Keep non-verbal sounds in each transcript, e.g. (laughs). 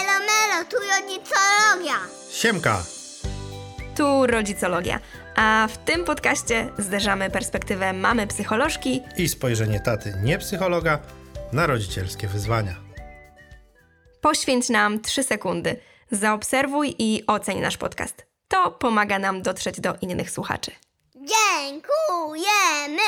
tu rodzicologia. Siemka! Tu rodzicologia, a w tym podcaście zderzamy perspektywę mamy psycholożki. I spojrzenie taty nie psychologa na rodzicielskie wyzwania. Poświęć nam 3 sekundy. Zaobserwuj i oceń nasz podcast. To pomaga nam dotrzeć do innych słuchaczy. Dziękujemy.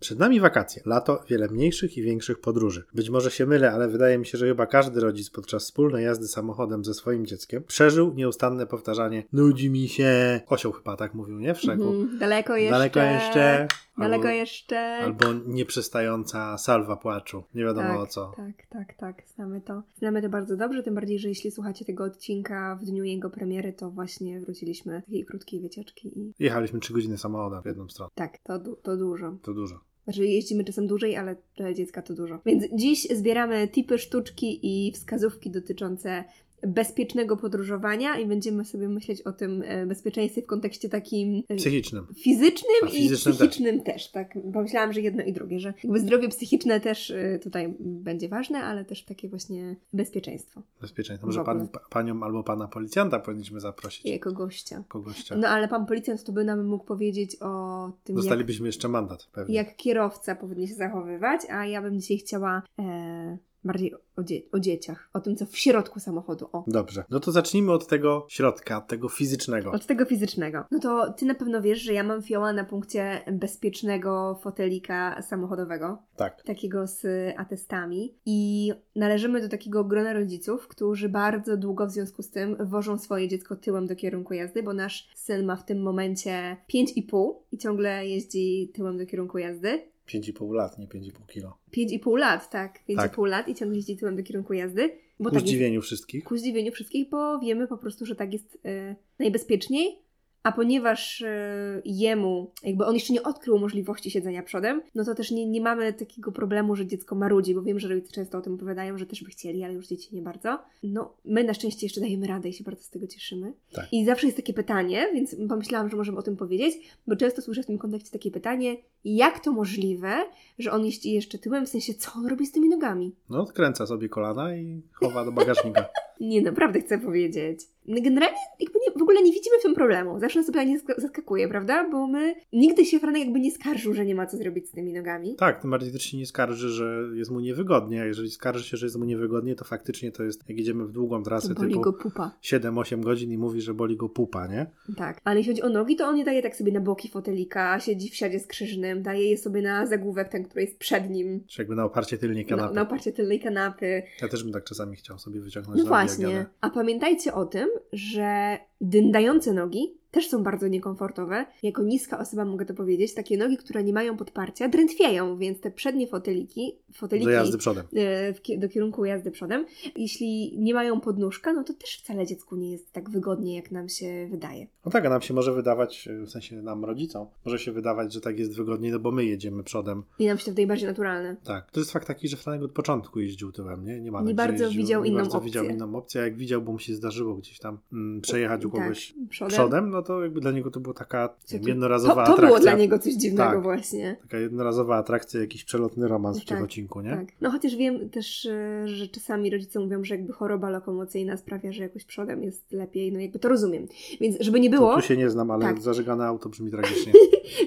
Przed nami wakacje, lato, wiele mniejszych i większych podróży. Być może się mylę, ale wydaje mi się, że chyba każdy rodzic podczas wspólnej jazdy samochodem ze swoim dzieckiem przeżył nieustanne powtarzanie nudzi mi się. Osioł chyba tak mówił, nie? W szeku. Daleko Daleko jeszcze. Mhm. Daleko albo, jeszcze. Albo nieprzestająca salwa płaczu. Nie wiadomo tak, o co. Tak, tak, tak. Znamy to. Znamy to bardzo dobrze, tym bardziej, że jeśli słuchacie tego odcinka w dniu jego premiery, to właśnie wróciliśmy z takiej krótkiej wycieczki i Jechaliśmy 3 godziny samochodem w jedną stronę. tak, to, du- to dużo. To dużo. Znaczy jeździmy czasem dłużej, ale dla dziecka to dużo. Więc dziś zbieramy tipy sztuczki i wskazówki dotyczące bezpiecznego podróżowania i będziemy sobie myśleć o tym e, bezpieczeństwie w kontekście takim e, Psychicznym. fizycznym A i fizycznym psychicznym też. tak. Pomyślałam, że jedno i drugie, że jakby zdrowie psychiczne też y, tutaj będzie ważne, ale też takie właśnie bezpieczeństwo Bezpieczeństwo. Może W ogóle. pan, pa- panią albo pana policjanta powinniśmy zaprosić. jako gościa. Kogoś No ale pan policjant to by nam mógł powiedzieć o tym, jak Dostalibyśmy jeszcze mandat pewnie. jak kierowca powinien się zachowywać, a ja bym dzisiaj chciała e, bardziej o, dzie- o dzieciach, o tym, co w środku samochodu, o. Dobrze. No to zacznijmy od tego środka, od tego fizycznego. Od tego fizycznego. No to ty na pewno wiesz, że ja mam fioła na punkcie bezpiecznego fotelika samochodowego, Tak. takiego z atestami. I należymy do takiego grona rodziców, którzy bardzo długo w związku z tym wożą swoje dziecko tyłem do kierunku jazdy, bo nasz syn ma w tym momencie 5,5 i ciągle jeździ tyłem do kierunku jazdy. 5,5 lat, nie 5,5 kilo. 5,5 lat, tak. 5,5 Tak. lat i ciągle jeździ tyłem do kierunku jazdy. Bo Ku tak jest, zdziwieniu wszystkich. ku zdziwieniu wszystkich, bo wiemy po prostu, że tak jest y, najbezpieczniej. A ponieważ y, jemu, jakby on jeszcze nie odkrył możliwości siedzenia przodem, no to też nie, nie mamy takiego problemu, że dziecko marudzi, bo wiem, że rodzice często o tym opowiadają, że też by chcieli, ale już dzieci nie bardzo. No, my na szczęście jeszcze dajemy radę i się bardzo z tego cieszymy. Tak. I zawsze jest takie pytanie, więc pomyślałam, że możemy o tym powiedzieć, bo często słyszę w tym kontekście takie pytanie, jak to możliwe, że on jeździ jeszcze tyłem, w sensie co on robi z tymi nogami? No, odkręca sobie kolana i chowa do (laughs) bagażnika. Nie, naprawdę chcę powiedzieć. No Generalnie jakby nie, w ogóle nie widzimy w tym problemu. Zawsze nas to pytanie zask- zaskakuje, prawda? Bo my nigdy się Franek jakby nie skarżył, że nie ma co zrobić z tymi nogami. tak, tym bardziej też się nie skarży, że jest mu niewygodnie. A jeżeli skarży się, że jest mu niewygodnie, to faktycznie to jest, jak idziemy w długą To trasę boli typu go pupa. 7-8 godzin i mówi, że boli go pupa, nie? Tak. Ale jeśli chodzi o nogi, to on je daje tak sobie na boki fotelika, siedzi w siadzie skrzyżnym, daje je sobie na zagłówek, ten, który jest przed nim. Czy jakby na oparcie tylnej Na, kanapy. na oparcie tylnej kanapy. Ja też bym tak czasami chciał sobie wyciągnąć No nogi, jak właśnie. jadę. A pamiętajcie o tym, że dyndające nogi też są bardzo niekomfortowe. Jako niska osoba mogę to powiedzieć. Takie nogi, które nie mają podparcia, drętwieją, więc te przednie foteliki, foteliki Do jazdy przodem. e, w ki- do kierunku jazdy przodem, jeśli nie mają podnóżka, no to też wcale dziecku nie jest tak wygodnie, jak nam się wydaje. No tak, a nam się może wydawać, e, w sensie nam rodzicom, może się wydawać, że tak jest wygodniej, no bo my jedziemy przodem. I nam się to wydaje bardziej naturalne. Tak. To jest fakt taki, że Franek od początku jeździł tyłem, nie? Nie, ma Nie tak, że bardzo jeździł, widział nie inną bardzo opcję. widział inną opcję. a Jak widział, bo mu się zdarzyło gdzieś tam mm, przejechać u kogoś tak, przodem. przodem, no to jakby dla niego to była taka Co tu- jednorazowa To, to atrakcja. było dla niego coś dziwnego Tak. właśnie. Taka jednorazowa atrakcja, jakiś przelotny romans w Tak, Ciechocinku, nie? Tak. No chociaż wiem też, e, że czasami rodzice mówią, że jakby choroba lokomocyjna sprawia, że jakoś przodem jest lepiej, no jakby to rozumiem. Więc żeby nie To było, tu się nie znam, ale Tak. zażegane auto brzmi tragicznie.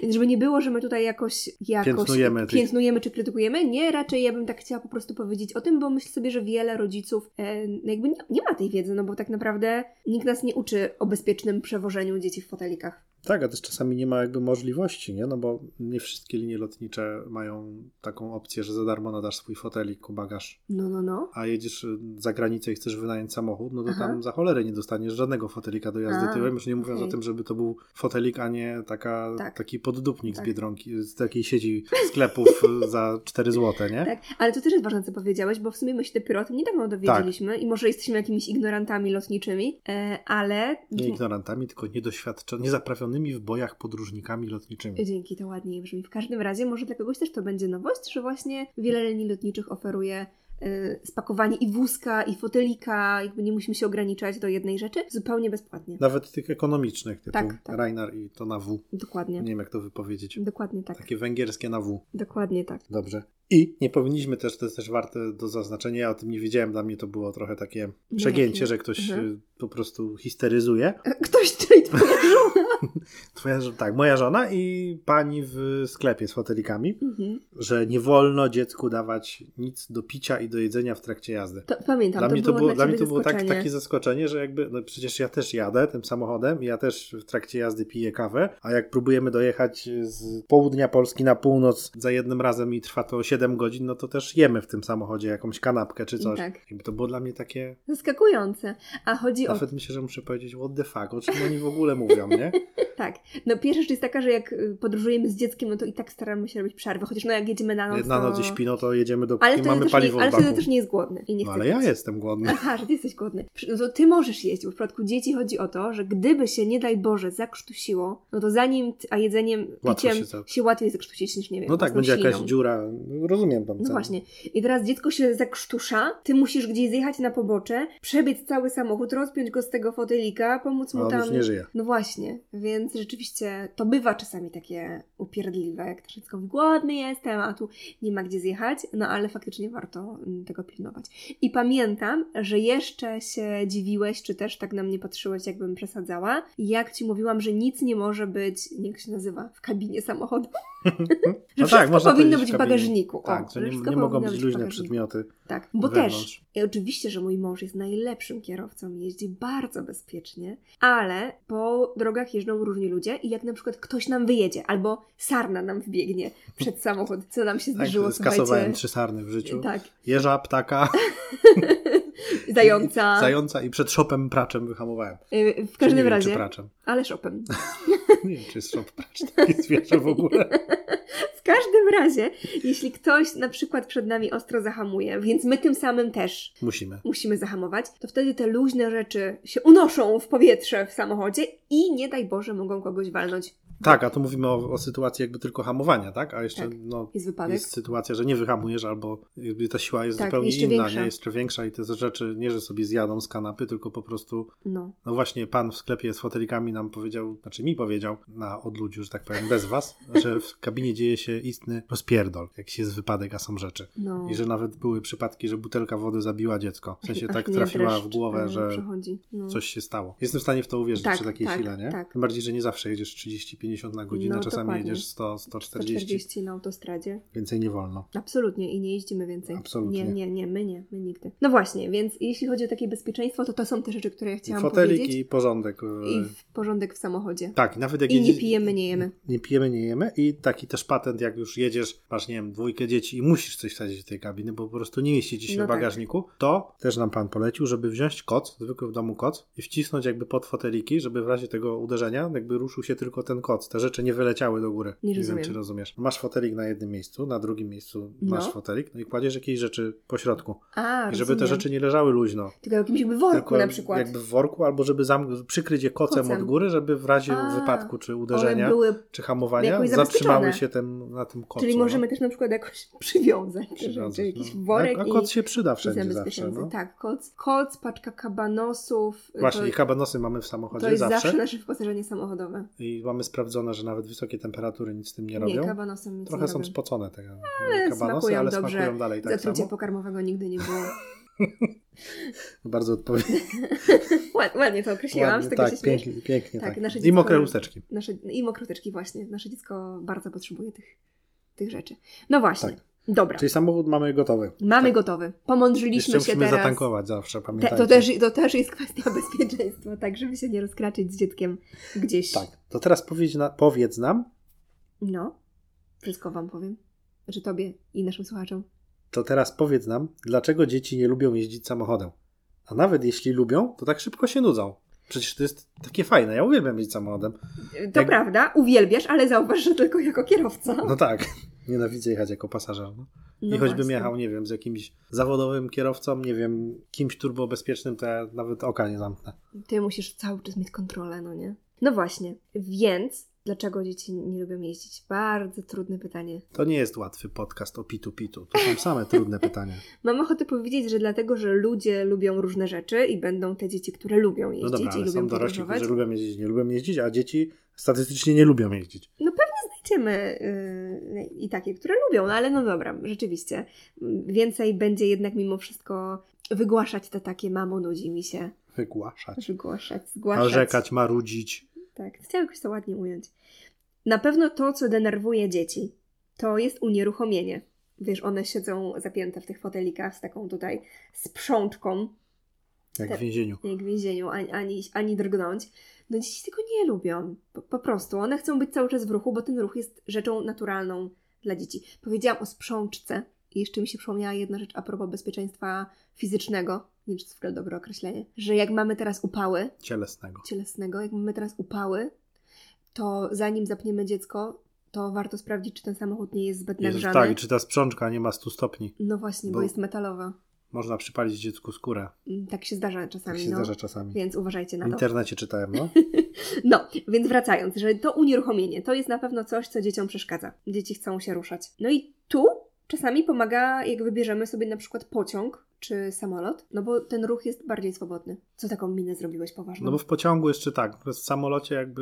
więc żeby nie było, że my tutaj jakoś, jakoś Piętnujemy tych- piętnujemy czy krytykujemy, nie, raczej ja bym tak chciała po prostu powiedzieć o tym, bo myślę sobie, że wiele rodziców e, no jakby nie, nie ma tej wiedzy, no bo tak naprawdę nikt nas nie uczy o bezpiecznym przewożeniu dzieci w fotelikach. Tak, a też czasami nie ma jakby możliwości, nie? No bo nie wszystkie linie lotnicze mają taką opcję, że za darmo nadasz swój fotelik, ku bagaż, No, no, no. a jedziesz y, za granicę i chcesz wynająć samochód, no to Aha. tam za cholerę nie dostaniesz żadnego fotelika do jazdy A, tyłem, już nie mówiąc okej. o tym, żeby to był fotelik, a nie taka, Tak. taki poddupnik Tak. z Biedronki, z takiej (laughs) sieci sklepów y, za 4 złote, nie? Tak, ale to też jest ważne, co powiedziałeś, bo w sumie my się dopiero o tym niedawno dowiedzieliśmy Tak. i może jesteśmy jakimiś ignorantami lotniczymi, e, ale... Nie ignorantami, tylko niedoświadczonymi, niezaprawionymi w bojach podróżnikami lotniczymi. Dzięki, to ładniej brzmi. W każdym razie może dla kogoś też to będzie nowość, że właśnie wiele linii lotniczych oferuje e, spakowanie i wózka, i fotelika, jakby nie musimy się ograniczać do jednej rzeczy, zupełnie bezpłatnie. Nawet tych ekonomicznych, typu Tak, tak. Rainar i to na W. Dokładnie. Nie wiem, jak to wypowiedzieć. Dokładnie tak. Takie węgierskie na W. Dokładnie tak. Dobrze. I nie powinniśmy też, to jest też warte do zaznaczenia, ja o tym nie wiedziałem, dla mnie to było trochę takie przegięcie, że ktoś Mhm. y, po prostu histeryzuje. E, Ktoś, (laughs) czyli twoja żona. Twoja, żo- tak, moja żona i pani w sklepie z fotelikami, Mhm. że nie wolno dziecku dawać nic do picia i do jedzenia w trakcie jazdy. To, pamiętam, Dla to mnie to było, było, dla dla mnie ciebie to było tak, zaskoczenie. takie zaskoczenie, że jakby, no przecież ja też jadę tym samochodem i ja też w trakcie jazdy piję kawę, a jak próbujemy dojechać z południa Polski na północ za jednym razem i trwa to 7 godzin, no to też jemy w tym samochodzie jakąś kanapkę czy coś. Tak. Jakby to było dla mnie takie, Zaskakujące. A chodzi o nawet myślę, że muszę powiedzieć what the fuck, o czym oni w ogóle mówią, (laughs) nie? Tak. No pierwsza rzecz jest taka, że jak y, podróżujemy z dzieckiem, no to i tak staramy się robić przerwy, chociaż no jak jedziemy na noc, Na to... noc i śpi, no to jedziemy do Ale, mamy wtedy też, paliwo nie, ale w baku. wtedy też nie jest głodny i nie chce no, ale ja jeść. jestem (laughs) głodny. Aha, że ty jesteś głodny. Przy- No to ty możesz jeść, bo w przypadku dzieci chodzi o to, że gdyby się, nie daj Boże, zakrztusiło, no to zanim, t- a jedzeniem, Łatwo piciem się się, za- łatwiej zakrztusić niż, nie wiem, No tak, własną będzie jakaś śliną. dziura, rozumiem tam No cel. właśnie. I teraz dziecko się zakrztusza, ty musisz gdzieś zjechać na pobocze, przebiec cały samochód, rozpiąć go z tego fotelika, pomóc A mu on tam... już nie żyje. No właśnie, więc rzeczywiście to bywa czasami takie upierdliwe, jak to dziecko mówi, głodny jestem, a tu nie ma gdzie zjechać, no ale faktycznie warto mm, tego pilnować. I pamiętam, że jeszcze się dziwiłeś, czy też tak na mnie patrzyłeś, jakbym przesadzała, jak Ci mówiłam, że nic nie może być, nie, jak się nazywa, w kabinie samochodu, że No tak, wszystko można powinno powiedzieć być w w kabinie. bagażniku. Tak, o, że że nie, wszystko nie mogą powinno być w luźne bagażniku. przedmioty. Tak, bo też wewnątrz. i oczywiście, że mój mąż jest najlepszym kierowcą, jeździ bardzo bezpiecznie, ale po drogach jeżdżą różni ludzie i jak na przykład ktoś nam wyjedzie albo sarna nam wbiegnie (laughs) przed samochód, co nam się Tak, zdarzyło, skasowałem słuchajcie. trzy sarny w życiu. (laughs) Tak, Jeża, ptaka, (laughs) zająca, zająca i przed szopem praczem wyhamowałem. y, w nie każdym wiem, Czy razie, praczem. (laughs) ale szopem. Nie wiem, czy jest szop (laughs) pracz, takie zwierzę w ogóle. W każdym razie, jeśli ktoś na przykład przed nami ostro zahamuje, więc my tym samym też Musimy. musimy zahamować, to wtedy te luźne rzeczy się unoszą w powietrze w samochodzie i nie daj Boże mogą kogoś walnąć. Tak, a tu mówimy o, o sytuacji jakby tylko hamowania, tak? A jeszcze Tak. no, Jest wypadek. jest sytuacja, że nie wyhamujesz albo jakby ta siła jest Tak, zupełnie jeszcze inna, większa. nie? Jeszcze większa i te rzeczy nie, że sobie zjadą z kanapy, tylko po prostu No. No właśnie, pan w sklepie z fotelikami nam powiedział, znaczy mi powiedział na odludziu, że tak powiem, bez was, (laughs) że w kabinie dzieje się istny rozpierdol, jak jest wypadek, a są rzeczy. No. I że nawet były przypadki, że butelka wody zabiła dziecko. W sensie Ach, tak mnie trafiła w dreszcz, e, głowę, że przechodzi. No. coś się stało. Jestem w stanie w to uwierzyć Tak, przy takiej tak, sile, nie? tak. Tym bardziej, że nie zawsze jedziesz 30-50 na godzinę, No, czasami dokładnie. jedziesz 100, 140, 140 na autostradzie. więcej nie wolno. Absolutnie i nie jeździmy więcej. Absolutnie. Nie, nie, nie, my nie, my nigdy. No właśnie, więc jeśli chodzi o takie bezpieczeństwo, to to są te rzeczy, które ja I chciałam fotelik powiedzieć. i porządek. e, I w porządek w samochodzie. Tak, i nawet jak I nie jedzie- pijemy, nie jemy. Nie pijemy, nie jemy. I taki też patent, jak już jedziesz, masz, nie wiem, dwójkę dzieci i musisz coś wsadzić do tej kabiny, bo po prostu nie mieści ci się No w tak. bagażniku, to też nam pan polecił, żeby wziąć koc, zwykły w domu koc i wcisnąć jakby pod foteliki, żeby w razie tego uderzenia jakby ruszył się tylko ten koc. Te rzeczy nie wyleciały do góry. Nie rozumiem. wiem, czy rozumiesz. Masz fotelik na jednym miejscu, na drugim miejscu No. masz fotelik, no i kładziesz jakieś rzeczy po środku. A, I żeby rozumiem. te rzeczy nie leżały luźno. Tylko w jakimś jakby worku Tylko na przykład. Jakby w worku, albo żeby zam- przykryć je kocem, Kocem. od góry, żeby w razie A, wypadku czy One uderzenia były, czy hamowania Jakoś zatrzymały zabezpieczone. się tem, na tym kocu. czyli możemy też na przykład jakoś (laughs) przywiązać, no, przywiązać Przywiązać, jakiś no. worek A, a i, koc się przyda i wszędzie zawsze. zabezpieczający. No. Tak, koc, koc, paczka kabanosów. y, Właśnie, to, i kabanosy mamy w to samochodzie jest zawsze. zawsze nasze wyposażenie samochodowe. I mamy sprawdzone, że nawet wysokie temperatury nic z tym nie Nie, robią. kabanosem nic Trochę nie są robię. spocone te Ale kabanosy, smakują ale dobrze. smakują dalej tak Zatrucia samo. pokarmowego nigdy nie (laughs) było. (laughs) Bardzo odpowiednio. Ład, ładnie to określiłam, z Ładnie, tego się tak, śmiesz. pięknie, pięknie. Tak, Tak, nasze I mokre dziecko- usteczki. Nasze, no I mokroteczki właśnie. Nasze dziecko bardzo potrzebuje tych, tych rzeczy. No właśnie. Tak. Dobra. Czyli samochód mamy gotowy. Mamy tak. gotowy. Jeszcze Pomądrzyliśmy się musimy teraz. zatankować zawsze, Te, pamiętajcie. to, też, to też jest kwestia (laughs) bezpieczeństwa, tak, żeby się nie rozkraczyć z dzieckiem gdzieś. Tak, to teraz powiedz, na, powiedz nam, No, wszystko Wam powiem. Znaczy Tobie i naszym słuchaczom. to teraz powiedz nam, dlaczego dzieci nie lubią jeździć samochodem. A nawet jeśli lubią, to tak szybko się nudzą. Przecież to jest takie fajne, ja uwielbiam jeździć samochodem. To Jak- prawda, uwielbiasz, ale zauważ, że tylko jako kierowca. No tak, (laughs) nienawidzę jechać jako pasażer. No. I No choćbym właśnie. jechał, nie wiem, z jakimś zawodowym kierowcą, nie wiem, kimś turbobezpiecznym, to ja nawet oka nie zamknę. Ty musisz cały czas mieć kontrolę, no nie? No właśnie, więc dlaczego dzieci nie lubią jeździć? Bardzo trudne pytanie. To nie jest łatwy podcast o pitu pitu. To są (laughs) same trudne pytania. Mam ochotę powiedzieć, że dlatego, że ludzie lubią różne rzeczy i będą te dzieci, które lubią No jeździć dobra, i ale lubią są dorośli, podróżować. którzy lubią jeździć, nie lubią jeździć, a dzieci statystycznie nie lubią jeździć. Znajdziemy yy, i takie, które lubią, no ale no dobra, rzeczywiście. Więcej będzie jednak mimo wszystko wygłaszać te takie mamo, nudzi mi się. Wygłaszać. Wygłaszać, zgłaszać. Narzekać, marudzić. Tak, chciałam jakoś to ładnie ująć. Na pewno to, co denerwuje dzieci, to jest unieruchomienie. Wiesz, one siedzą zapięte w tych fotelikach z taką tutaj sprzączką, Jak Tak. w więzieniu. jak w więzieniu, ani, ani, ani drgnąć. No dzieci tego nie lubią. Po, po prostu. One chcą być cały czas w ruchu, bo ten ruch jest rzeczą naturalną dla dzieci. Powiedziałam o sprzączce i jeszcze mi się przypomniała jedna rzecz a propos bezpieczeństwa fizycznego. Nie wiem, czy to jest w ogóle dobre określenie. Że jak mamy teraz upały, Cielesnego. cielesnego, jak mamy teraz upały, to zanim zapniemy dziecko, to warto sprawdzić, czy ten samochód nie jest zbyt Jezus, nagrzany. tak, i czy ta sprzączka nie ma 100 stopni? No właśnie, bo, Bo- jest metalowa. Można przypalić dziecku skórę. Mm, Tak się zdarza Tak czasami, się no. zdarza czasami. Więc uważajcie W na to. internecie czytałem, (laughs) no. No, więc wracając, że to unieruchomienie to jest na pewno coś, co dzieciom przeszkadza. Dzieci chcą się ruszać. No i tu czasami pomaga, jak wybierzemy sobie na przykład pociąg czy samolot, no bo ten ruch jest bardziej swobodny. Co taką minę zrobiłeś poważną? No bo w pociągu jeszcze tak, natomiast w samolocie jakby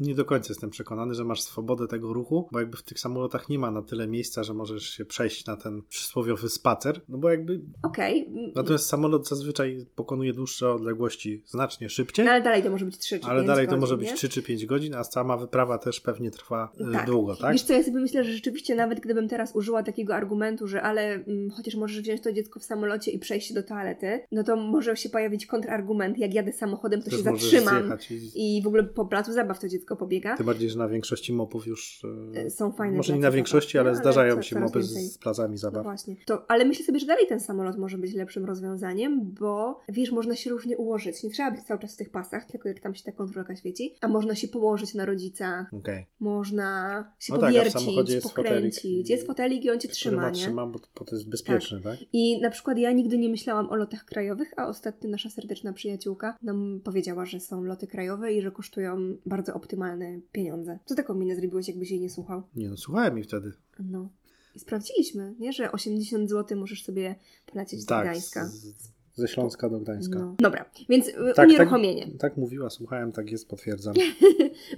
nie do końca jestem przekonany, że masz swobodę tego ruchu, bo jakby w tych samolotach nie ma na tyle miejsca, że możesz się przejść na ten przysłowiowy spacer, no bo jakby... Okej, mm, Natomiast samolot zazwyczaj pokonuje dłuższe odległości znacznie szybciej, no ale dalej to może być 3 czy ale pięć dalej to godzin, może być nie? 3 czy 5 godzin, a sama wyprawa też pewnie trwa e, Tak. długo, tak? Wiesz co, ja sobie myślę, że rzeczywiście nawet gdybym teraz użyła takiego argumentu, że ale mm, chociaż możesz wziąć to dziecko w samolocie i przejść się do toalety, no to może się pojawić kontrargument, jak jadę samochodem, to Też się możesz zatrzymam zjechać i... i w ogóle po placu zabaw to dziecko pobiega. Tym bardziej, że na większości mopów już... e, E, Są fajne Może nie place na zabaw, większości, no, ale zdarzają co- się coraz mopy więcej. z, z placami No zabaw. właśnie. To, ale myślę sobie, że dalej ten samolot może być lepszym rozwiązaniem, bo wiesz, można się różnie ułożyć. Nie trzeba być cały czas w tych pasach, tylko jak tam się ta kontrolka świeci, a można się położyć na rodzicach, Okej. można się No tak, a w powiercić, samochodzie jest pokręcić. fotelik i- Jest fotelik i on cię trzyma, Ryba nie? trzyma, bo, bo to jest bezpieczne, tak? I na przykład ja nigdy nie myślałam o lotach krajowych, a ostatnio nasza serdeczna przyjaciółka nam powiedziała, że są loty krajowe i że kosztują bardzo optymalne pieniądze. Co taką minę zrobiłeś, jakbyś jej nie słuchał? Nie no, słuchałem jej wtedy. No. I sprawdziliśmy, nie? Że 80 zł możesz sobie polecieć do Tak, z, Gdańska. z- ze Śląska do Gdańska. No. Dobra, więc y, tak. unieruchomienie. (laughs) Tak mówiła, słuchałem, tak jest, potwierdzam.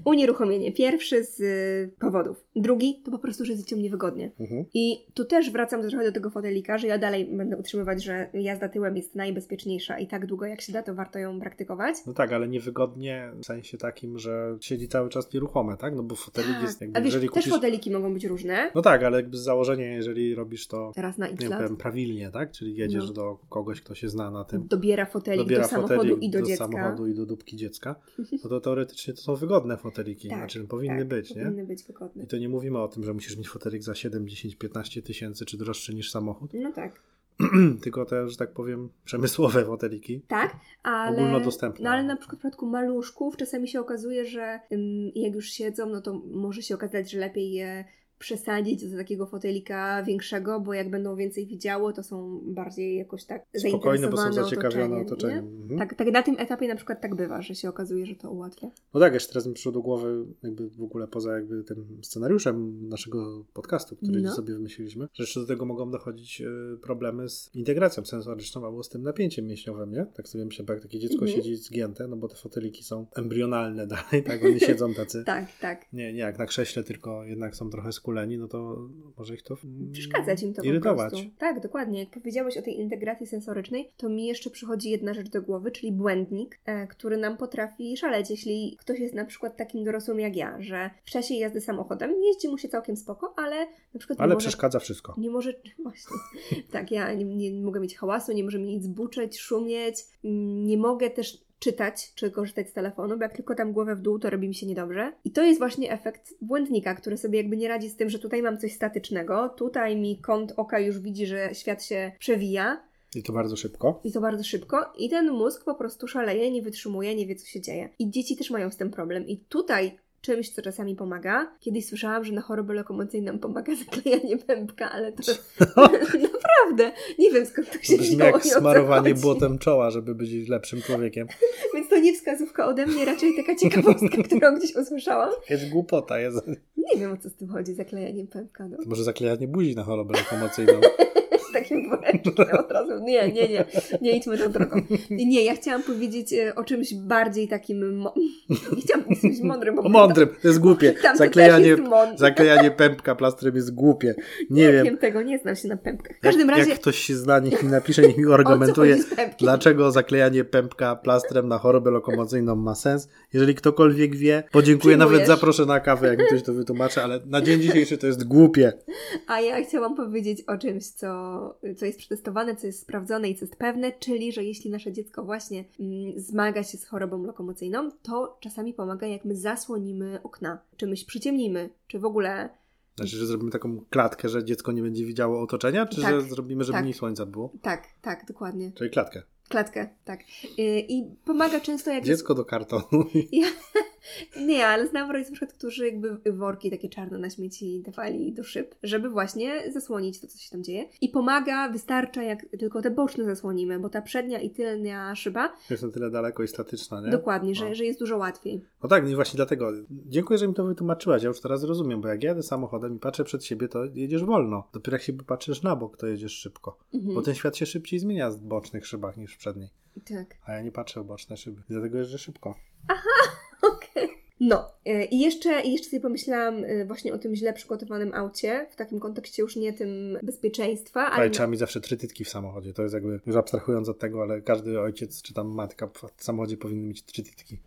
Unieruchomienie. Pierwszy z y, powodów. Drugi to po prostu, że jest dzieciom niewygodnie. Mhm. I tu też wracam trochę do tego fotelika, że ja dalej będę utrzymywać, że jazda tyłem jest najbezpieczniejsza i tak długo jak się da, to warto ją praktykować. No tak, ale niewygodnie w sensie takim, że siedzi cały czas nieruchome, tak? No bo fotelik Tak. jest jakby, A wiesz, jeżeli też kupisz... foteliki mogą być różne. No tak, ale jakby z założenia, jeżeli robisz to, Teraz na nie X wiem, lat powiem, prawilnie, tak? Czyli jedziesz No. do kogoś, kto się zna na tym, dobiera fotelik dobiera do samochodu fotelik i do, dziecka. samochodu i do dupki (laughs) dziecka, no to teoretycznie to są wygodne foteliki, Tak, znaczy powinny być, nie? Powinny być wygodne. I to nie mówimy o tym, że musisz mieć fotelik za 7, 10, 15 tysięcy czy droższy niż samochód, (clears throat) No tak. tylko te, że tak powiem, przemysłowe foteliki. Tak, ale, Ogólnodostępne. No, ale na przykład w przypadku maluszków czasami się okazuje, że ym, jak już siedzą, no to może się okazać, że lepiej je przesadzić do takiego fotelika większego, bo jak będą więcej widziało, to są bardziej jakoś tak Spokojne, bo są zainteresowane zaciekawione otoczeniem, otoczeniem. nie? Mhm. Tak, tak, na tym etapie na przykład tak bywa, że się okazuje, że to ułatwia. No tak, jeszcze teraz mi przyszło do głowy, jakby w ogóle poza jakby tym scenariuszem naszego podcastu, który No. sobie wymyśliliśmy, że jeszcze do tego mogą dochodzić y, problemy z integracją sensoryczną albo z tym napięciem mięśniowym, nie? Tak sobie myślę, bo jak takie dziecko Mhm. siedzi zgięte, no bo te foteliki są embrionalne (laughs) dalej, tak? Oni siedzą tacy. (laughs) Tak, tak. Nie, nie jak na krześle, tylko jednak są trochę skuleni, no to może ich to mm, Przeszkadzać im to po irytować. prostu. Tak, dokładnie. Jak powiedziałeś o tej integracji sensorycznej, to mi jeszcze przychodzi jedna rzecz do głowy, czyli błędnik, e, który nam potrafi szaleć. Jeśli ktoś jest na przykład takim dorosłym jak ja, że w czasie jazdy samochodem jeździ mu się całkiem spoko, ale na przykład Ale nie może... przeszkadza wszystko. Nie może, (laughs) właśnie, tak, ja nie, nie mogę mieć hałasu, nie może mi nic buczeć, szumieć, mm, nie mogę też czytać czy korzystać z telefonu, bo jak tylko tam głowę w dół, to robi mi się niedobrze. I to jest właśnie efekt błędnika, który sobie jakby nie radzi z tym, że tutaj mam coś statycznego, tutaj mi kąt oka już widzi, że świat się przewija I to bardzo szybko. i to bardzo szybko i ten mózg po prostu szaleje, nie wytrzymuje, nie wie co się dzieje. I dzieci też mają z tym problem i tutaj czymś, co czasami pomaga. Kiedyś słyszałam, że na chorobę lokomocyjną pomaga (laughs) zaklejanie pępka, ale to (laughs) naprawdę, nie wiem skąd to (laughs) się Brzmi wzięło i o jak co smarowanie chodzi. błotem czoła, żeby być lepszym (laughs) człowiekiem. Więc to nie wskazówka ode mnie, raczej taka (laughs) ciekawostka, którą gdzieś usłyszałam. Jest głupota, jest... Nie wiem o co z tym chodzi, zaklejaniem pępka, no. To może zaklejanie buzi na chorobę lokomocyjną. z takim woreczkiem od razu. Nie, nie, nie, nie idźmy tą drogą. Nie, ja chciałam powiedzieć e, o czymś bardziej takim. Mo- (laughs) nie chciałam powiedzieć czymś mądrym, bo O mądrym, to jest głupie. Tam to też Zaklejanie, jest mądre. zaklejanie pępka plastrem jest głupie. Nie wiem. wiem tego, nie znam się na pępkach. W Jak, każdym razie, jak ktoś się zna, niech mi napisze, niech mi o argumentuje, co chodzi z pępkiem? dlaczego zaklejanie pępka plastrem na chorobę lokomocyjną ma sens. Jeżeli ktokolwiek wie, podziękuję, Przyjmujesz. nawet zaproszę na kawę, jak mi ktoś to wytłumaczy, ale na dzień dzisiejszy to jest głupie. A ja chciałam powiedzieć o czymś, co, co jest przetestowane, co jest sprawdzone i co jest pewne, czyli, że jeśli nasze dziecko właśnie mm, zmaga się z chorobą lokomocyjną, to czasami pomaga, jak my zasłonimy okna, czy my się przyciemnimy, czy w ogóle Znaczy, że zrobimy taką klatkę, że dziecko nie będzie widziało otoczenia, czy Tak. że zrobimy, żeby Tak. mniej słońca było? tak, tak, dokładnie. Czyli klatkę. Klatkę, tak. Y, I pomaga często, jak (laughs) Dziecko do kartonu. (laughs) Nie, ale znam rodziców, na przykład, którzy jakby worki takie czarne na śmieci dawali do szyb, żeby właśnie zasłonić to, co się tam dzieje. I pomaga, wystarcza, jak tylko te boczne zasłonimy, bo ta przednia i tylnia szyba, Jest na tyle daleko i statyczna, nie? dokładnie, że, No. że jest dużo łatwiej. No tak, no i właśnie dlatego. Dziękuję, że mi to wytłumaczyłaś. Ja już teraz rozumiem, bo jak jadę samochodem i patrzę przed siebie, to jedziesz wolno. Dopiero jak się patrzysz na bok, to jedziesz szybko. Mhm. Bo ten świat się szybciej zmienia w bocznych szybach niż w przedniej. Tak. (laughs) A ja nie patrzę w boczne szyby. Dlatego jeżdżę szybko. Okej. No, e, i jeszcze, i jeszcze sobie pomyślałam e, właśnie o tym źle przygotowanym aucie, w takim kontekście już nie tym bezpieczeństwa, ale Ale trzeba mieć zawsze trzy tytki w samochodzie. To jest jakby, już abstrahując od tego, ale każdy ojciec czy tam matka w samochodzie powinien mieć trzy tytki.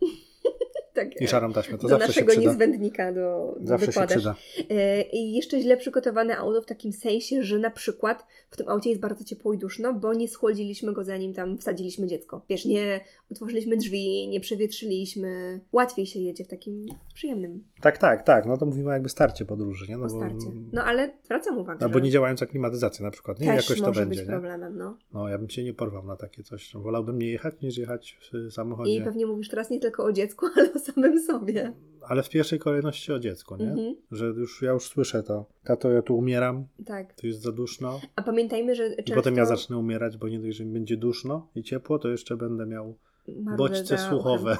tak, I szarą taśmę. To do zawsze się naszego przyda. niezbędnika do, do Zawsze się wykładasz. przyda. E, I jeszcze źle przygotowane auto w takim sensie, że na przykład w tym aucie jest bardzo ciepło i duszno, bo nie schłodziliśmy go zanim tam wsadziliśmy dziecko. Wiesz, nie otworzyliśmy drzwi, nie przewietrzyliśmy. Łatwiej się jedzie w takim przyjemnym Tak, tak, tak. No to mówimy jakby starcie podróży, nie? No, bo, postarcie. No ale zwracam uwagę. Albo że nie działająca klimatyzacja na przykład, nie? też Jakoś to może będzie, być nie? problemem, no. No ja bym się nie porwał na takie coś. No, Wolałbym nie jechać niż jechać w y, I samochodzie. pewnie mówisz teraz nie tylko o dziecku, (laughs) ale o samym sobie. Ale w pierwszej kolejności o dziecku, No, nie? Mhm, Że już ja już słyszę to. Tato, ja tu umieram, tak. tu jest za duszno. A pamiętajmy, że I często... potem ja zacznę umierać, bo nie dość, że mi będzie duszno i ciepło, to jeszcze będę miał Marudza bodźce uchem. (laughs) słuchowe.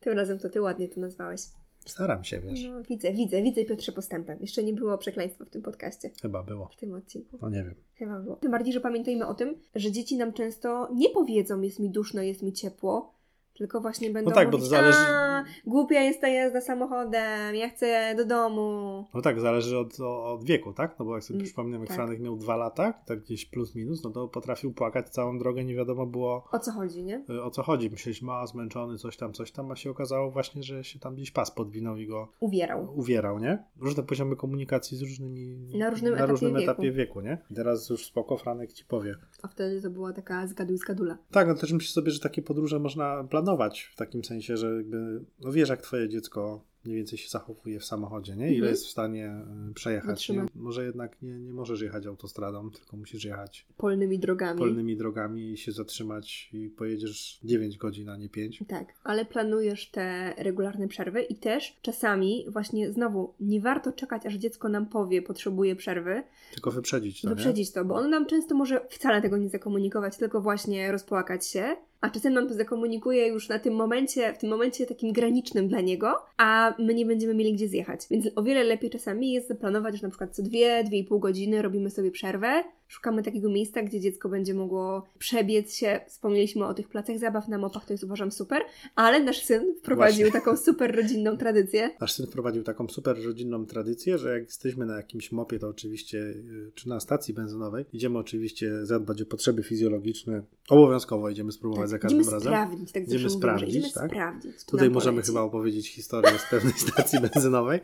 Tym razem to ty ładnie to nazwałeś. Staram się, wiesz. No, widzę, widzę, widzę Piotrze postępem. Jeszcze nie było przekleństwa w tym podcaście, Chyba było. w tym odcinku. No nie wiem. Chyba było. Tym bardziej, że pamiętajmy o tym, że dzieci nam często nie powiedzą jest mi duszno, jest mi ciepło, tylko właśnie będą tak, bo mówić, to zależy- "A, głupia jest ta jazda samochodem, ja chcę do domu. No tak, zależy od, o- od wieku, tak? No bo jak sobie Mm, przypomnę, jak tak. Franek miał dwa lata, tak gdzieś plus minus, no to potrafił płakać całą drogę, nie wiadomo było O co chodzi, nie? y, o co chodzi. Myśleliśmy, a zmęczony, coś tam, coś tam, a się okazało właśnie, że się tam gdzieś pas podwinął i go Uwierał. uwierał, nie? Różne poziomy komunikacji z różnymi... Na różnym etapie wieku. etapie wieku, nie? I teraz już spoko Franek ci powie. A wtedy to była taka zgaduj zgadula. Tak, no też myślę sobie, że takie podróże można planować w takim sensie, że jakby, no wiesz, jak twoje dziecko mniej więcej się zachowuje w samochodzie, nie? Ile Mhm. jest w stanie y, przejechać. Nie? Wytrzymać. Może jednak nie, nie możesz jechać autostradą, tylko musisz jechać Polnymi drogami. polnymi drogami i się zatrzymać i pojedziesz 9 godzin, a nie 5. Tak, ale planujesz te regularne przerwy i też czasami właśnie znowu nie warto czekać, aż dziecko nam powie, potrzebuje przerwy, Tylko wyprzedzić to, wyprzedzić to, bo ono nam często może wcale tego nie zakomunikować, tylko właśnie rozpłakać się, a czasem nam to zakomunikuje już na tym momencie, w tym momencie takim granicznym dla niego, a my nie będziemy mieli gdzie zjechać. Więc o wiele lepiej czasami jest zaplanować, że na przykład co dwie, dwie i pół godziny robimy sobie przerwę, szukamy takiego miejsca, gdzie dziecko będzie mogło przebiec się. Wspomnieliśmy o tych placach zabaw na mopach, to jest uważam super, ale nasz syn wprowadził Właśnie. taką super rodzinną tradycję. nie? Nasz syn wprowadził taką super rodzinną tradycję, że jak jesteśmy na jakimś mopie, to oczywiście, y, czy na stacji benzynowej, idziemy oczywiście zadbać o potrzeby fizjologiczne. Obowiązkowo idziemy spróbować za każdym idziemy razem. sprawdzić, tak Idziemy zawsze mówimy, że sprawdzić, idziemy tak? sprawdzić. czy Tutaj nam możemy poleci. chyba opowiedzieć historię z pewnej (laughs) stacji benzynowej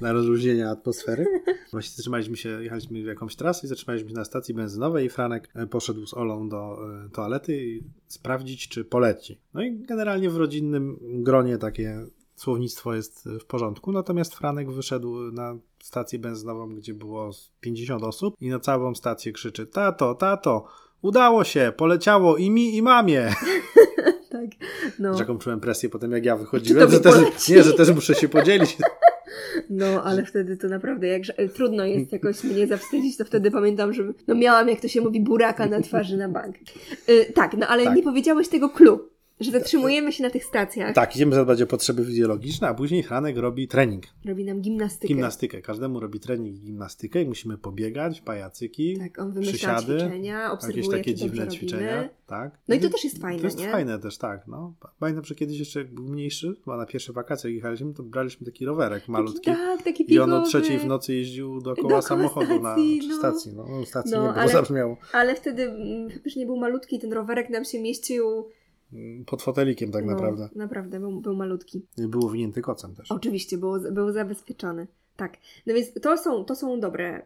na rozluźnienie atmosfery. Właśnie zatrzymaliśmy się, jechaliśmy w jakąś trasę i zatrzymaliśmy się na stacji benzynowej i Franek e, poszedł z Olą do e, toalety i sprawdzić, czy poleci. No i generalnie w rodzinnym gronie takie słownictwo jest e, w porządku, natomiast Franek wyszedł e, na stację benzynową, gdzie było z 50 osób i na całą stację krzyczy tato, tato, udało się, poleciało i mi i mamie. (laughs) Tak. No. Że jaką czułem presję potem, jak ja Czy wychodziłem, tobie że też, poleci? nie, że też muszę się podzielić. (laughs) No, ale wtedy to naprawdę, jak że- e, trudno jest jakoś mnie zawstydzić, to wtedy pamiętam, że no miałam, jak to się mówi, buraka na twarzy na bank. Y, tak, no ale Tak. nie powiedziałeś tego clue. Że zatrzymujemy się na tych stacjach. Tak, idziemy zadbać o potrzeby fizjologiczne, a później Franek robi trening. Robi nam gimnastykę. Gimnastykę. Każdemu robi trening i gimnastykę i musimy pobiegać, pajacyki, Tak, on wymyśla Przysiady, ćwiczenia, obserwuje, jakieś takie czy dobrze dziwne robimy. ćwiczenia. Tak. No i to też jest fajne, To jest nie? fajne też, tak. No. Pamiętam, że kiedyś jeszcze jak był mniejszy, chyba na pierwsze wakacje jak jechaliśmy, to braliśmy taki rowerek malutki. Taki, tak, taki I no- on o piekowy. trzeciej w nocy jeździł dookoła, Dookoła samochodu na stacji, czy no. stacji. No, no stacji No, nie było, (laughs) ale- zabrzmiało. Ale wtedy mm, faktycznie był malutki, ten rowerek nam się mieścił. Mm, Pod fotelikiem tak no, naprawdę. Naprawdę, był, był malutki. Nie Było winięty kocem też. Oczywiście, był, był zabezpieczony. Tak, no więc to są, to są dobre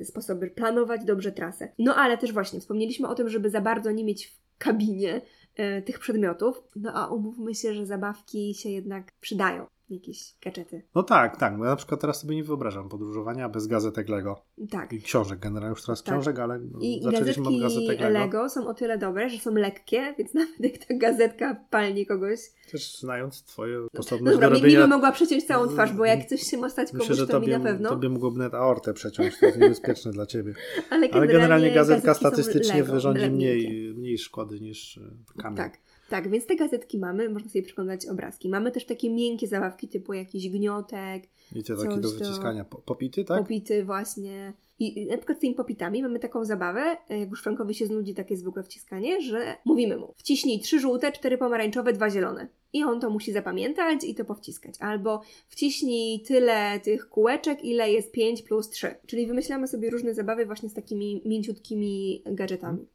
e, sposoby planować dobrze trasę. No ale też właśnie wspomnieliśmy o tym, żeby za bardzo nie mieć w kabinie e, tych przedmiotów. No a umówmy się, że zabawki się jednak przydają. Jakieś gadżety. No tak, tak. No ja na przykład teraz sobie nie wyobrażam podróżowania bez gazetek Lego. Tak. I książek, generalnie już teraz Tak. książek, ale no, I zaczęliśmy od gazetki gazetek Lego. Lego. są o tyle dobre, że są lekkie, więc (laughs) nawet jak ta gazetka palnie kogoś, Też znając twoje no sposobność dobra, do mi, mi by robienia mogła przeciąć całą twarz, bo jak coś się ma stać komuś, Myślę, że to mi tobie, na pewno. tobie mógłbym nawet aortę przeciąć, to jest niebezpieczne dla ciebie. (laughs) Ale generalnie, Ale generalnie gazetka gazetki są statystycznie Lego, wyrządzi drewnienkie. mniej, mniej szkody niż e, kamień. Tak, tak, więc te gazetki mamy, można sobie przeglądać obrazki. Mamy też takie miękkie zabawki typu jakiś gniotek, Wiecie, takie do Coś do- wyciskania. Po, popity, tak? popity właśnie. I na przykład z tymi popitami mamy taką zabawę, e, jak już Frankowi się znudzi takie zwykłe wciskanie, że mówimy mu wciśnij trzy żółte, cztery pomarańczowe, dwa zielone. I on to musi zapamiętać i to powciskać. Albo wciśnij tyle tych kółeczek, ile jest 5 plus 3. Czyli wymyślamy sobie różne zabawy właśnie z takimi mięciutkimi gadżetami.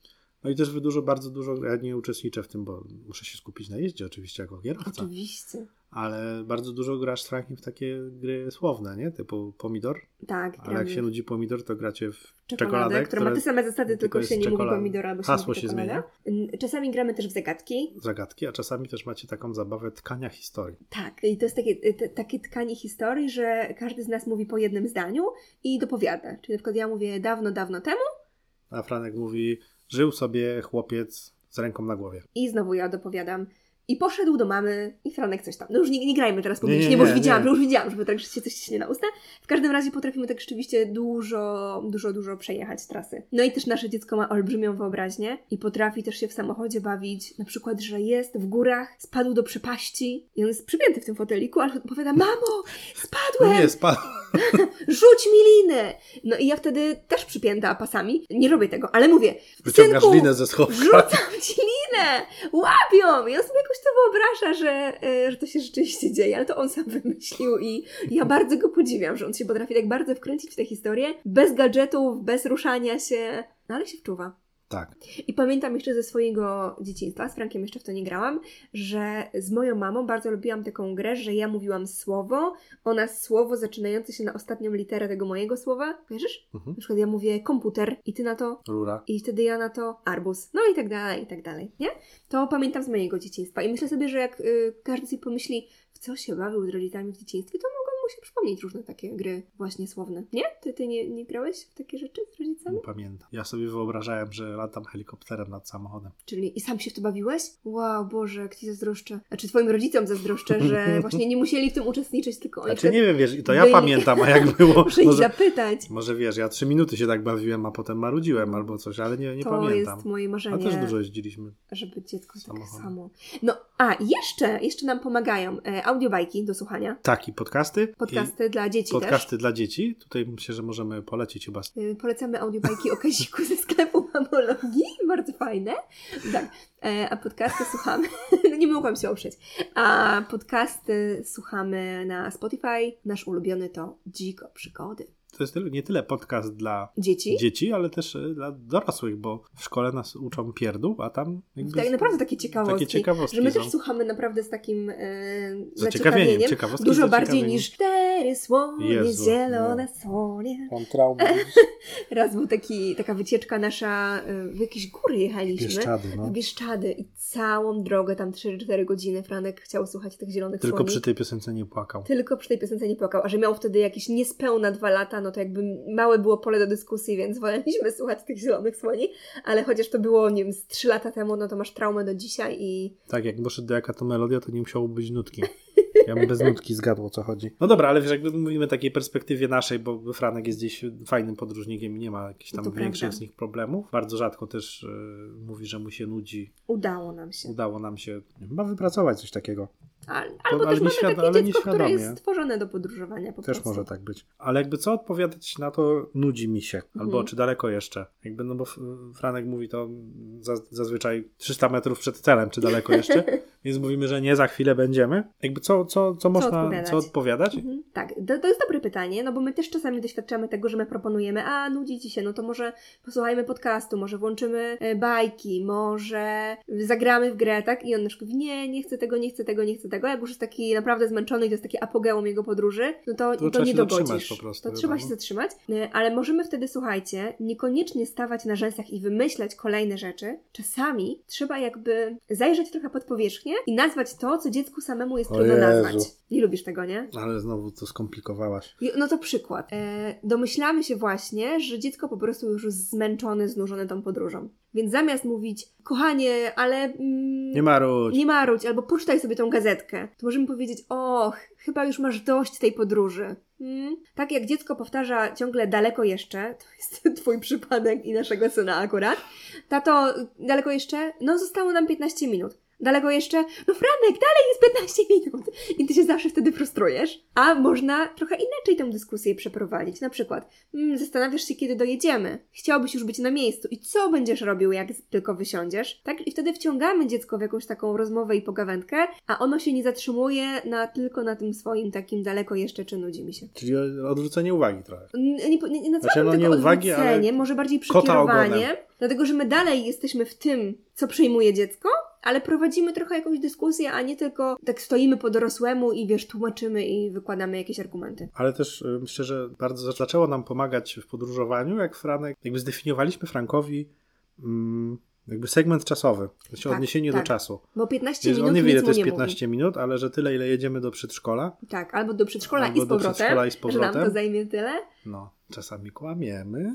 No i też wy dużo, bardzo dużo, ja nie uczestniczę w tym, bo muszę się skupić na jeździe oczywiście jako kierowca, Oczywiście. ale bardzo dużo grasz z Frankiem w takie gry słowne, nie? Typu pomidor, Tak, ale jak gramy. się nudzi pomidor, to gracie w czekoladę, czekoladę, która ma te same zasady, tylko jest się nie czekolada. mówi pomidora albo się Hasło mówi się czekolada. Mm, Czasami gramy też w zagadki. zagadki, a czasami też macie taką zabawę tkania historii. Tak, i to jest takie, te, takie tkanie historii, że każdy z nas mówi po jednym zdaniu i dopowiada. Czyli na przykład ja mówię dawno, dawno temu A Franek mówi, żył sobie chłopiec z ręką na głowie. i znowu ja dopowiadam. I poszedł do mamy i Franek coś tam. No już nie, nie grajmy teraz Nie, publicznie, nie, bo już nie, widziałam, nie. że już widziałam, żeby tak że się coś ściśnie na usta. W każdym razie potrafimy tak rzeczywiście dużo, dużo, dużo przejechać trasy. No i też nasze dziecko ma olbrzymią wyobraźnię i potrafi też się w samochodzie bawić. Na przykład, że jest w górach, spadł do przepaści i on jest przypięty w tym foteliku, ale odpowiada, mamo, No spadłem! nie, spadł. rzuć mi linę! No i ja wtedy też przypięta pasami, nie robię tego, ale mówię, Wyciągasz synku, linę ze schowka. rzucam ci linę! Łapią! I on sobie jakoś to wyobraża, że, e, że to się rzeczywiście dzieje, ale to on sam wymyślił i ja bardzo go podziwiam, że on się potrafi tak bardzo wkręcić w tę historię, bez gadżetów, bez ruszania się, no ale się wczuwa. Tak. I pamiętam jeszcze ze swojego dzieciństwa, z Frankiem jeszcze w to nie grałam, że z moją mamą bardzo lubiłam taką grę, że ja mówiłam słowo, ona słowo zaczynające się na ostatnią literę tego mojego słowa. Kojarzysz? Mhm. Na przykład ja mówię komputer i ty na to Rura. i wtedy ja na to arbus, no i tak dalej, i tak dalej, nie? To pamiętam z mojego dzieciństwa i myślę sobie, że jak y, każdy sobie pomyśli, w co się bawił z rodzicami w dzieciństwie, to mogą mu się przypomnieć różne takie gry właśnie słowne, nie? Ty, ty nie, nie grałeś w takie rzeczy z rodzicami? Nie pamiętam. Ja sobie wyobrażałem, że latam helikopterem nad samochodem. Czyli i sam się w to bawiłeś? Wow, Boże, jak ci zazdroszczę. Znaczy twoim rodzicom zazdroszczę, (laughs) że właśnie nie musieli w tym uczestniczyć, tylko oni Znaczy nie wiem, wiesz, i to ja byli- pamiętam, a (laughs) jak było. muszę ich Może, zapytać. może wiesz, ja trzy minuty się tak bawiłem, a potem marudziłem albo coś, ale nie, nie to pamiętam. jest moje A też marzenie, dużo jeździliśmy. żeby dziecko tak Samochodem. samo. No, a jeszcze, jeszcze nam pomagają e, audiobajki do słuchania, Tak, i podcasty. podcasty dla I dzieci podcasty dla dzieci. Tutaj myślę, że możemy polecić chyba. też. E, Polecamy audiobajki o Kaziku ze sklepu (laughs) mamologii, bardzo fajne. Tak, e, a podcasty słuchamy, (laughs) no nie mogłam się oprzeć, a podcasty słuchamy na Spotify, nasz ulubiony to Dziko Przygody. To jest tyle, nie tyle podcast dla dzieci. dzieci, ale też y, dla dorosłych, bo w szkole nas uczą pierdół, a tam jakby Tak naprawdę takie ciekawostki. takie ciekawostki no. że my są. też słuchamy naprawdę z takim e, Zaciekawieniem, zaciekawieniem. ciekawostki Dużo z bardziej zaciekawieniem. niż cztery słonie, Jezu, no. zielone nie. słonie. Mam (laughs) traumę. Raz był taki, taka wycieczka nasza, e, w jakieś góry jechaliśmy. Bieszczady, W no. Bieszczady i całą drogę, tam 3-4 godziny Franek chciał słuchać tych zielonych Tylko słoni. przy tej piosence nie płakał. Tylko przy tej piosence nie płakał, a że miał wtedy jakieś niespełna dwa lata, no to jakby małe było pole do dyskusji, więc woleliśmy (laughs) słuchać tych zielonych słoni, ale chociaż to było, nie wiem, z trzy lata temu, no to masz traumę do dzisiaj i Tak, jak poszedł do jaka to melodia, to nie musiało być nutki. Ja bym bez nutki zgadł o co chodzi. No dobra, ale wiesz, jakby mówimy o takiej perspektywie naszej, bo Franek jest gdzieś fajnym podróżnikiem i nie ma jakichś tam No To większych prawda. z nich problemów. Bardzo rzadko też e, mówi, że mu się nudzi. Udało nam się. Udało nam się chyba wypracować coś takiego. Al, albo ale też mamy nieświad- takie ale dziecko, które jest nieświadomie. stworzone do podróżowania po Też prostu. może tak być. Ale jakby co odpowiadać na to nudzi mi się, albo Mhm. czy daleko jeszcze. Jakby, no bo F- Franek mówi to za, zazwyczaj 300 metrów przed celem, czy daleko (laughs) jeszcze, więc mówimy, że nie, za chwilę będziemy. Jakby co, co, co można, odpowiadać? co odpowiadać? Mhm. Tak, to, to jest dobre pytanie, no bo my też czasami doświadczamy tego, że my proponujemy, a nudzi ci się, no to może posłuchajmy podcastu, może włączymy e, bajki, może zagramy w grę, tak? I on na przykład mówi, nie, nie chcę tego, nie chcę tego, nie chcę tego. Jak już jest taki naprawdę zmęczony i to jest taki apogeum jego podróży, no to, to, trzeba nie się dogodzisz. zatrzymać po prostu, to chyba, trzeba się no. zatrzymać, E, ale możemy wtedy, słuchajcie, niekoniecznie stawać na rzęsach i wymyślać kolejne rzeczy. Czasami trzeba jakby zajrzeć trochę pod powierzchnię i nazwać to, co dziecku samemu jest O trudno Jezu. nazwać. Nie lubisz tego, nie? Ale znowu to skomplikowałaś. I- No to przykład. E, domyślamy się właśnie, że dziecko po prostu już jest zmęczone, znużone tą podróżą. Więc zamiast mówić, kochanie, ale mm, Nie marudź. nie marudź, albo poczytaj sobie tą gazetkę, to możemy powiedzieć, och, chyba już masz dość tej podróży. Mm? Tak jak dziecko powtarza ciągle daleko jeszcze, to jest (laughs) twój przypadek i naszego syna akurat, tato, daleko jeszcze? No zostało nam 15 minut. Daleko jeszcze? No Franek, dalej jest 15 minut! I ty się zawsze wtedy frustrujesz. A można trochę inaczej tę dyskusję przeprowadzić. Na przykład, mm, zastanawiasz się, kiedy dojedziemy. Chciałbyś już być na miejscu. I co będziesz robił, jak z- tylko wysiądziesz? Tak? I wtedy wciągamy dziecko w jakąś taką rozmowę i pogawędkę, a ono się nie zatrzymuje na, tylko na tym swoim takim daleko jeszcze, czy nudzi mi się. Czyli odwrócenie uwagi trochę. N- Nie, po- nie, nie nazwałabym Znaczy, no, tego nie uwagi, ale odwróceniem, może bardziej kota przekierowanie, ogonem. dlatego że my dalej jesteśmy w tym, co przyjmuje dziecko, ale prowadzimy trochę jakąś dyskusję, a nie tylko tak stoimy po dorosłemu i wiesz, tłumaczymy i wykładamy jakieś argumenty. Ale też y, myślę, że bardzo zaczęło nam pomagać w podróżowaniu, jak Franek, jakby zdefiniowaliśmy Frankowi mm, jakby segment czasowy, znaczy Tak, odniesienie tak. do czasu. Bo 15 Wiesz, minut on nie wie, ile nic to jest mu nie mówi. 15 minut, ale że tyle, ile jedziemy do przedszkola, Tak, albo do przedszkola Albo i z do powrotem. przedszkola i z powrotem. Że nam to zajmie tyle. (laughs) no, czasami kłamiemy.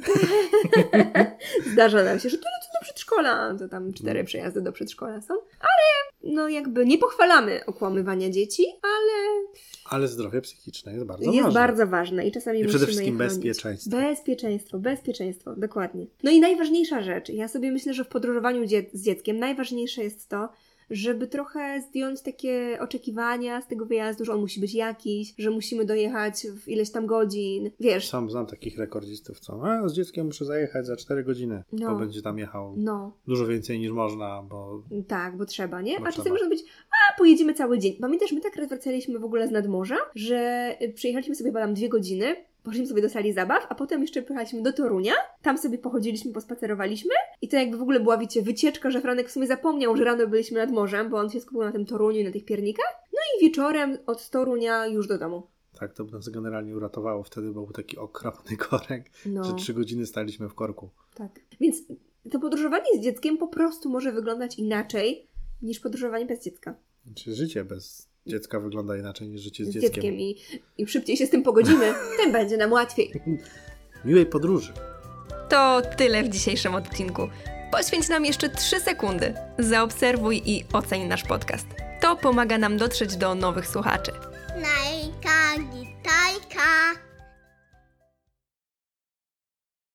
Zdarza nam się, że tyle co do przedszkola, to tam cztery Mm. przejazdy do przedszkola są. Ale no jakby nie pochwalamy okłamywania dzieci, ale Ale zdrowie psychiczne jest bardzo jest ważne. bardzo ważne i czasami I musimy przede wszystkim je chronić. bezpieczeństwo. Bezpieczeństwo, bezpieczeństwo, dokładnie. No i najważniejsza rzecz, ja sobie myślę, że w podróżowaniu dzie- z dzieckiem najważniejsze jest to, żeby trochę zdjąć takie oczekiwania z tego wyjazdu, że on musi być jakiś, że musimy dojechać w ileś tam godzin. Wiesz, Sam znam takich rekordzistów, co a z dzieckiem muszę zajechać za 4 godziny, No. bo będzie tam jechał no, dużo więcej niż można, bo tak, bo trzeba, nie? Bo A czasem trzeba. może być, a pojedziemy cały dzień. Pamiętasz, my tak raz wracaliśmy w ogóle z nadmorza, że y, przyjechaliśmy sobie chyba tam dwie godziny, poszliśmy sobie do sali zabaw, a potem jeszcze pojechaliśmy do Torunia, tam sobie pochodziliśmy, pospacerowaliśmy i to jakby w ogóle była, wiecie, wycieczka, że Franek w sumie zapomniał, że rano byliśmy nad morzem, bo on się skupił na tym Toruniu i na tych piernikach, no i wieczorem od Torunia już do domu. tak to by nas generalnie uratowało wtedy, bo był taki okropny (laughs) korek, No, że 3 godziny staliśmy w korku. tak. Więc to podróżowanie z dzieckiem po prostu może wyglądać inaczej niż podróżowanie bez dziecka. Znaczy życie bez dziecka wygląda inaczej niż życie z, z dzieckiem. dzieckiem i, i szybciej się z tym (laughs) pogodzimy, tym będzie nam łatwiej. Miłej podróży! To tyle w dzisiejszym odcinku. Poświęć nam jeszcze 3 sekundy. Zaobserwuj i oceń nasz podcast. To pomaga nam dotrzeć do nowych słuchaczy. Najka, gitajka.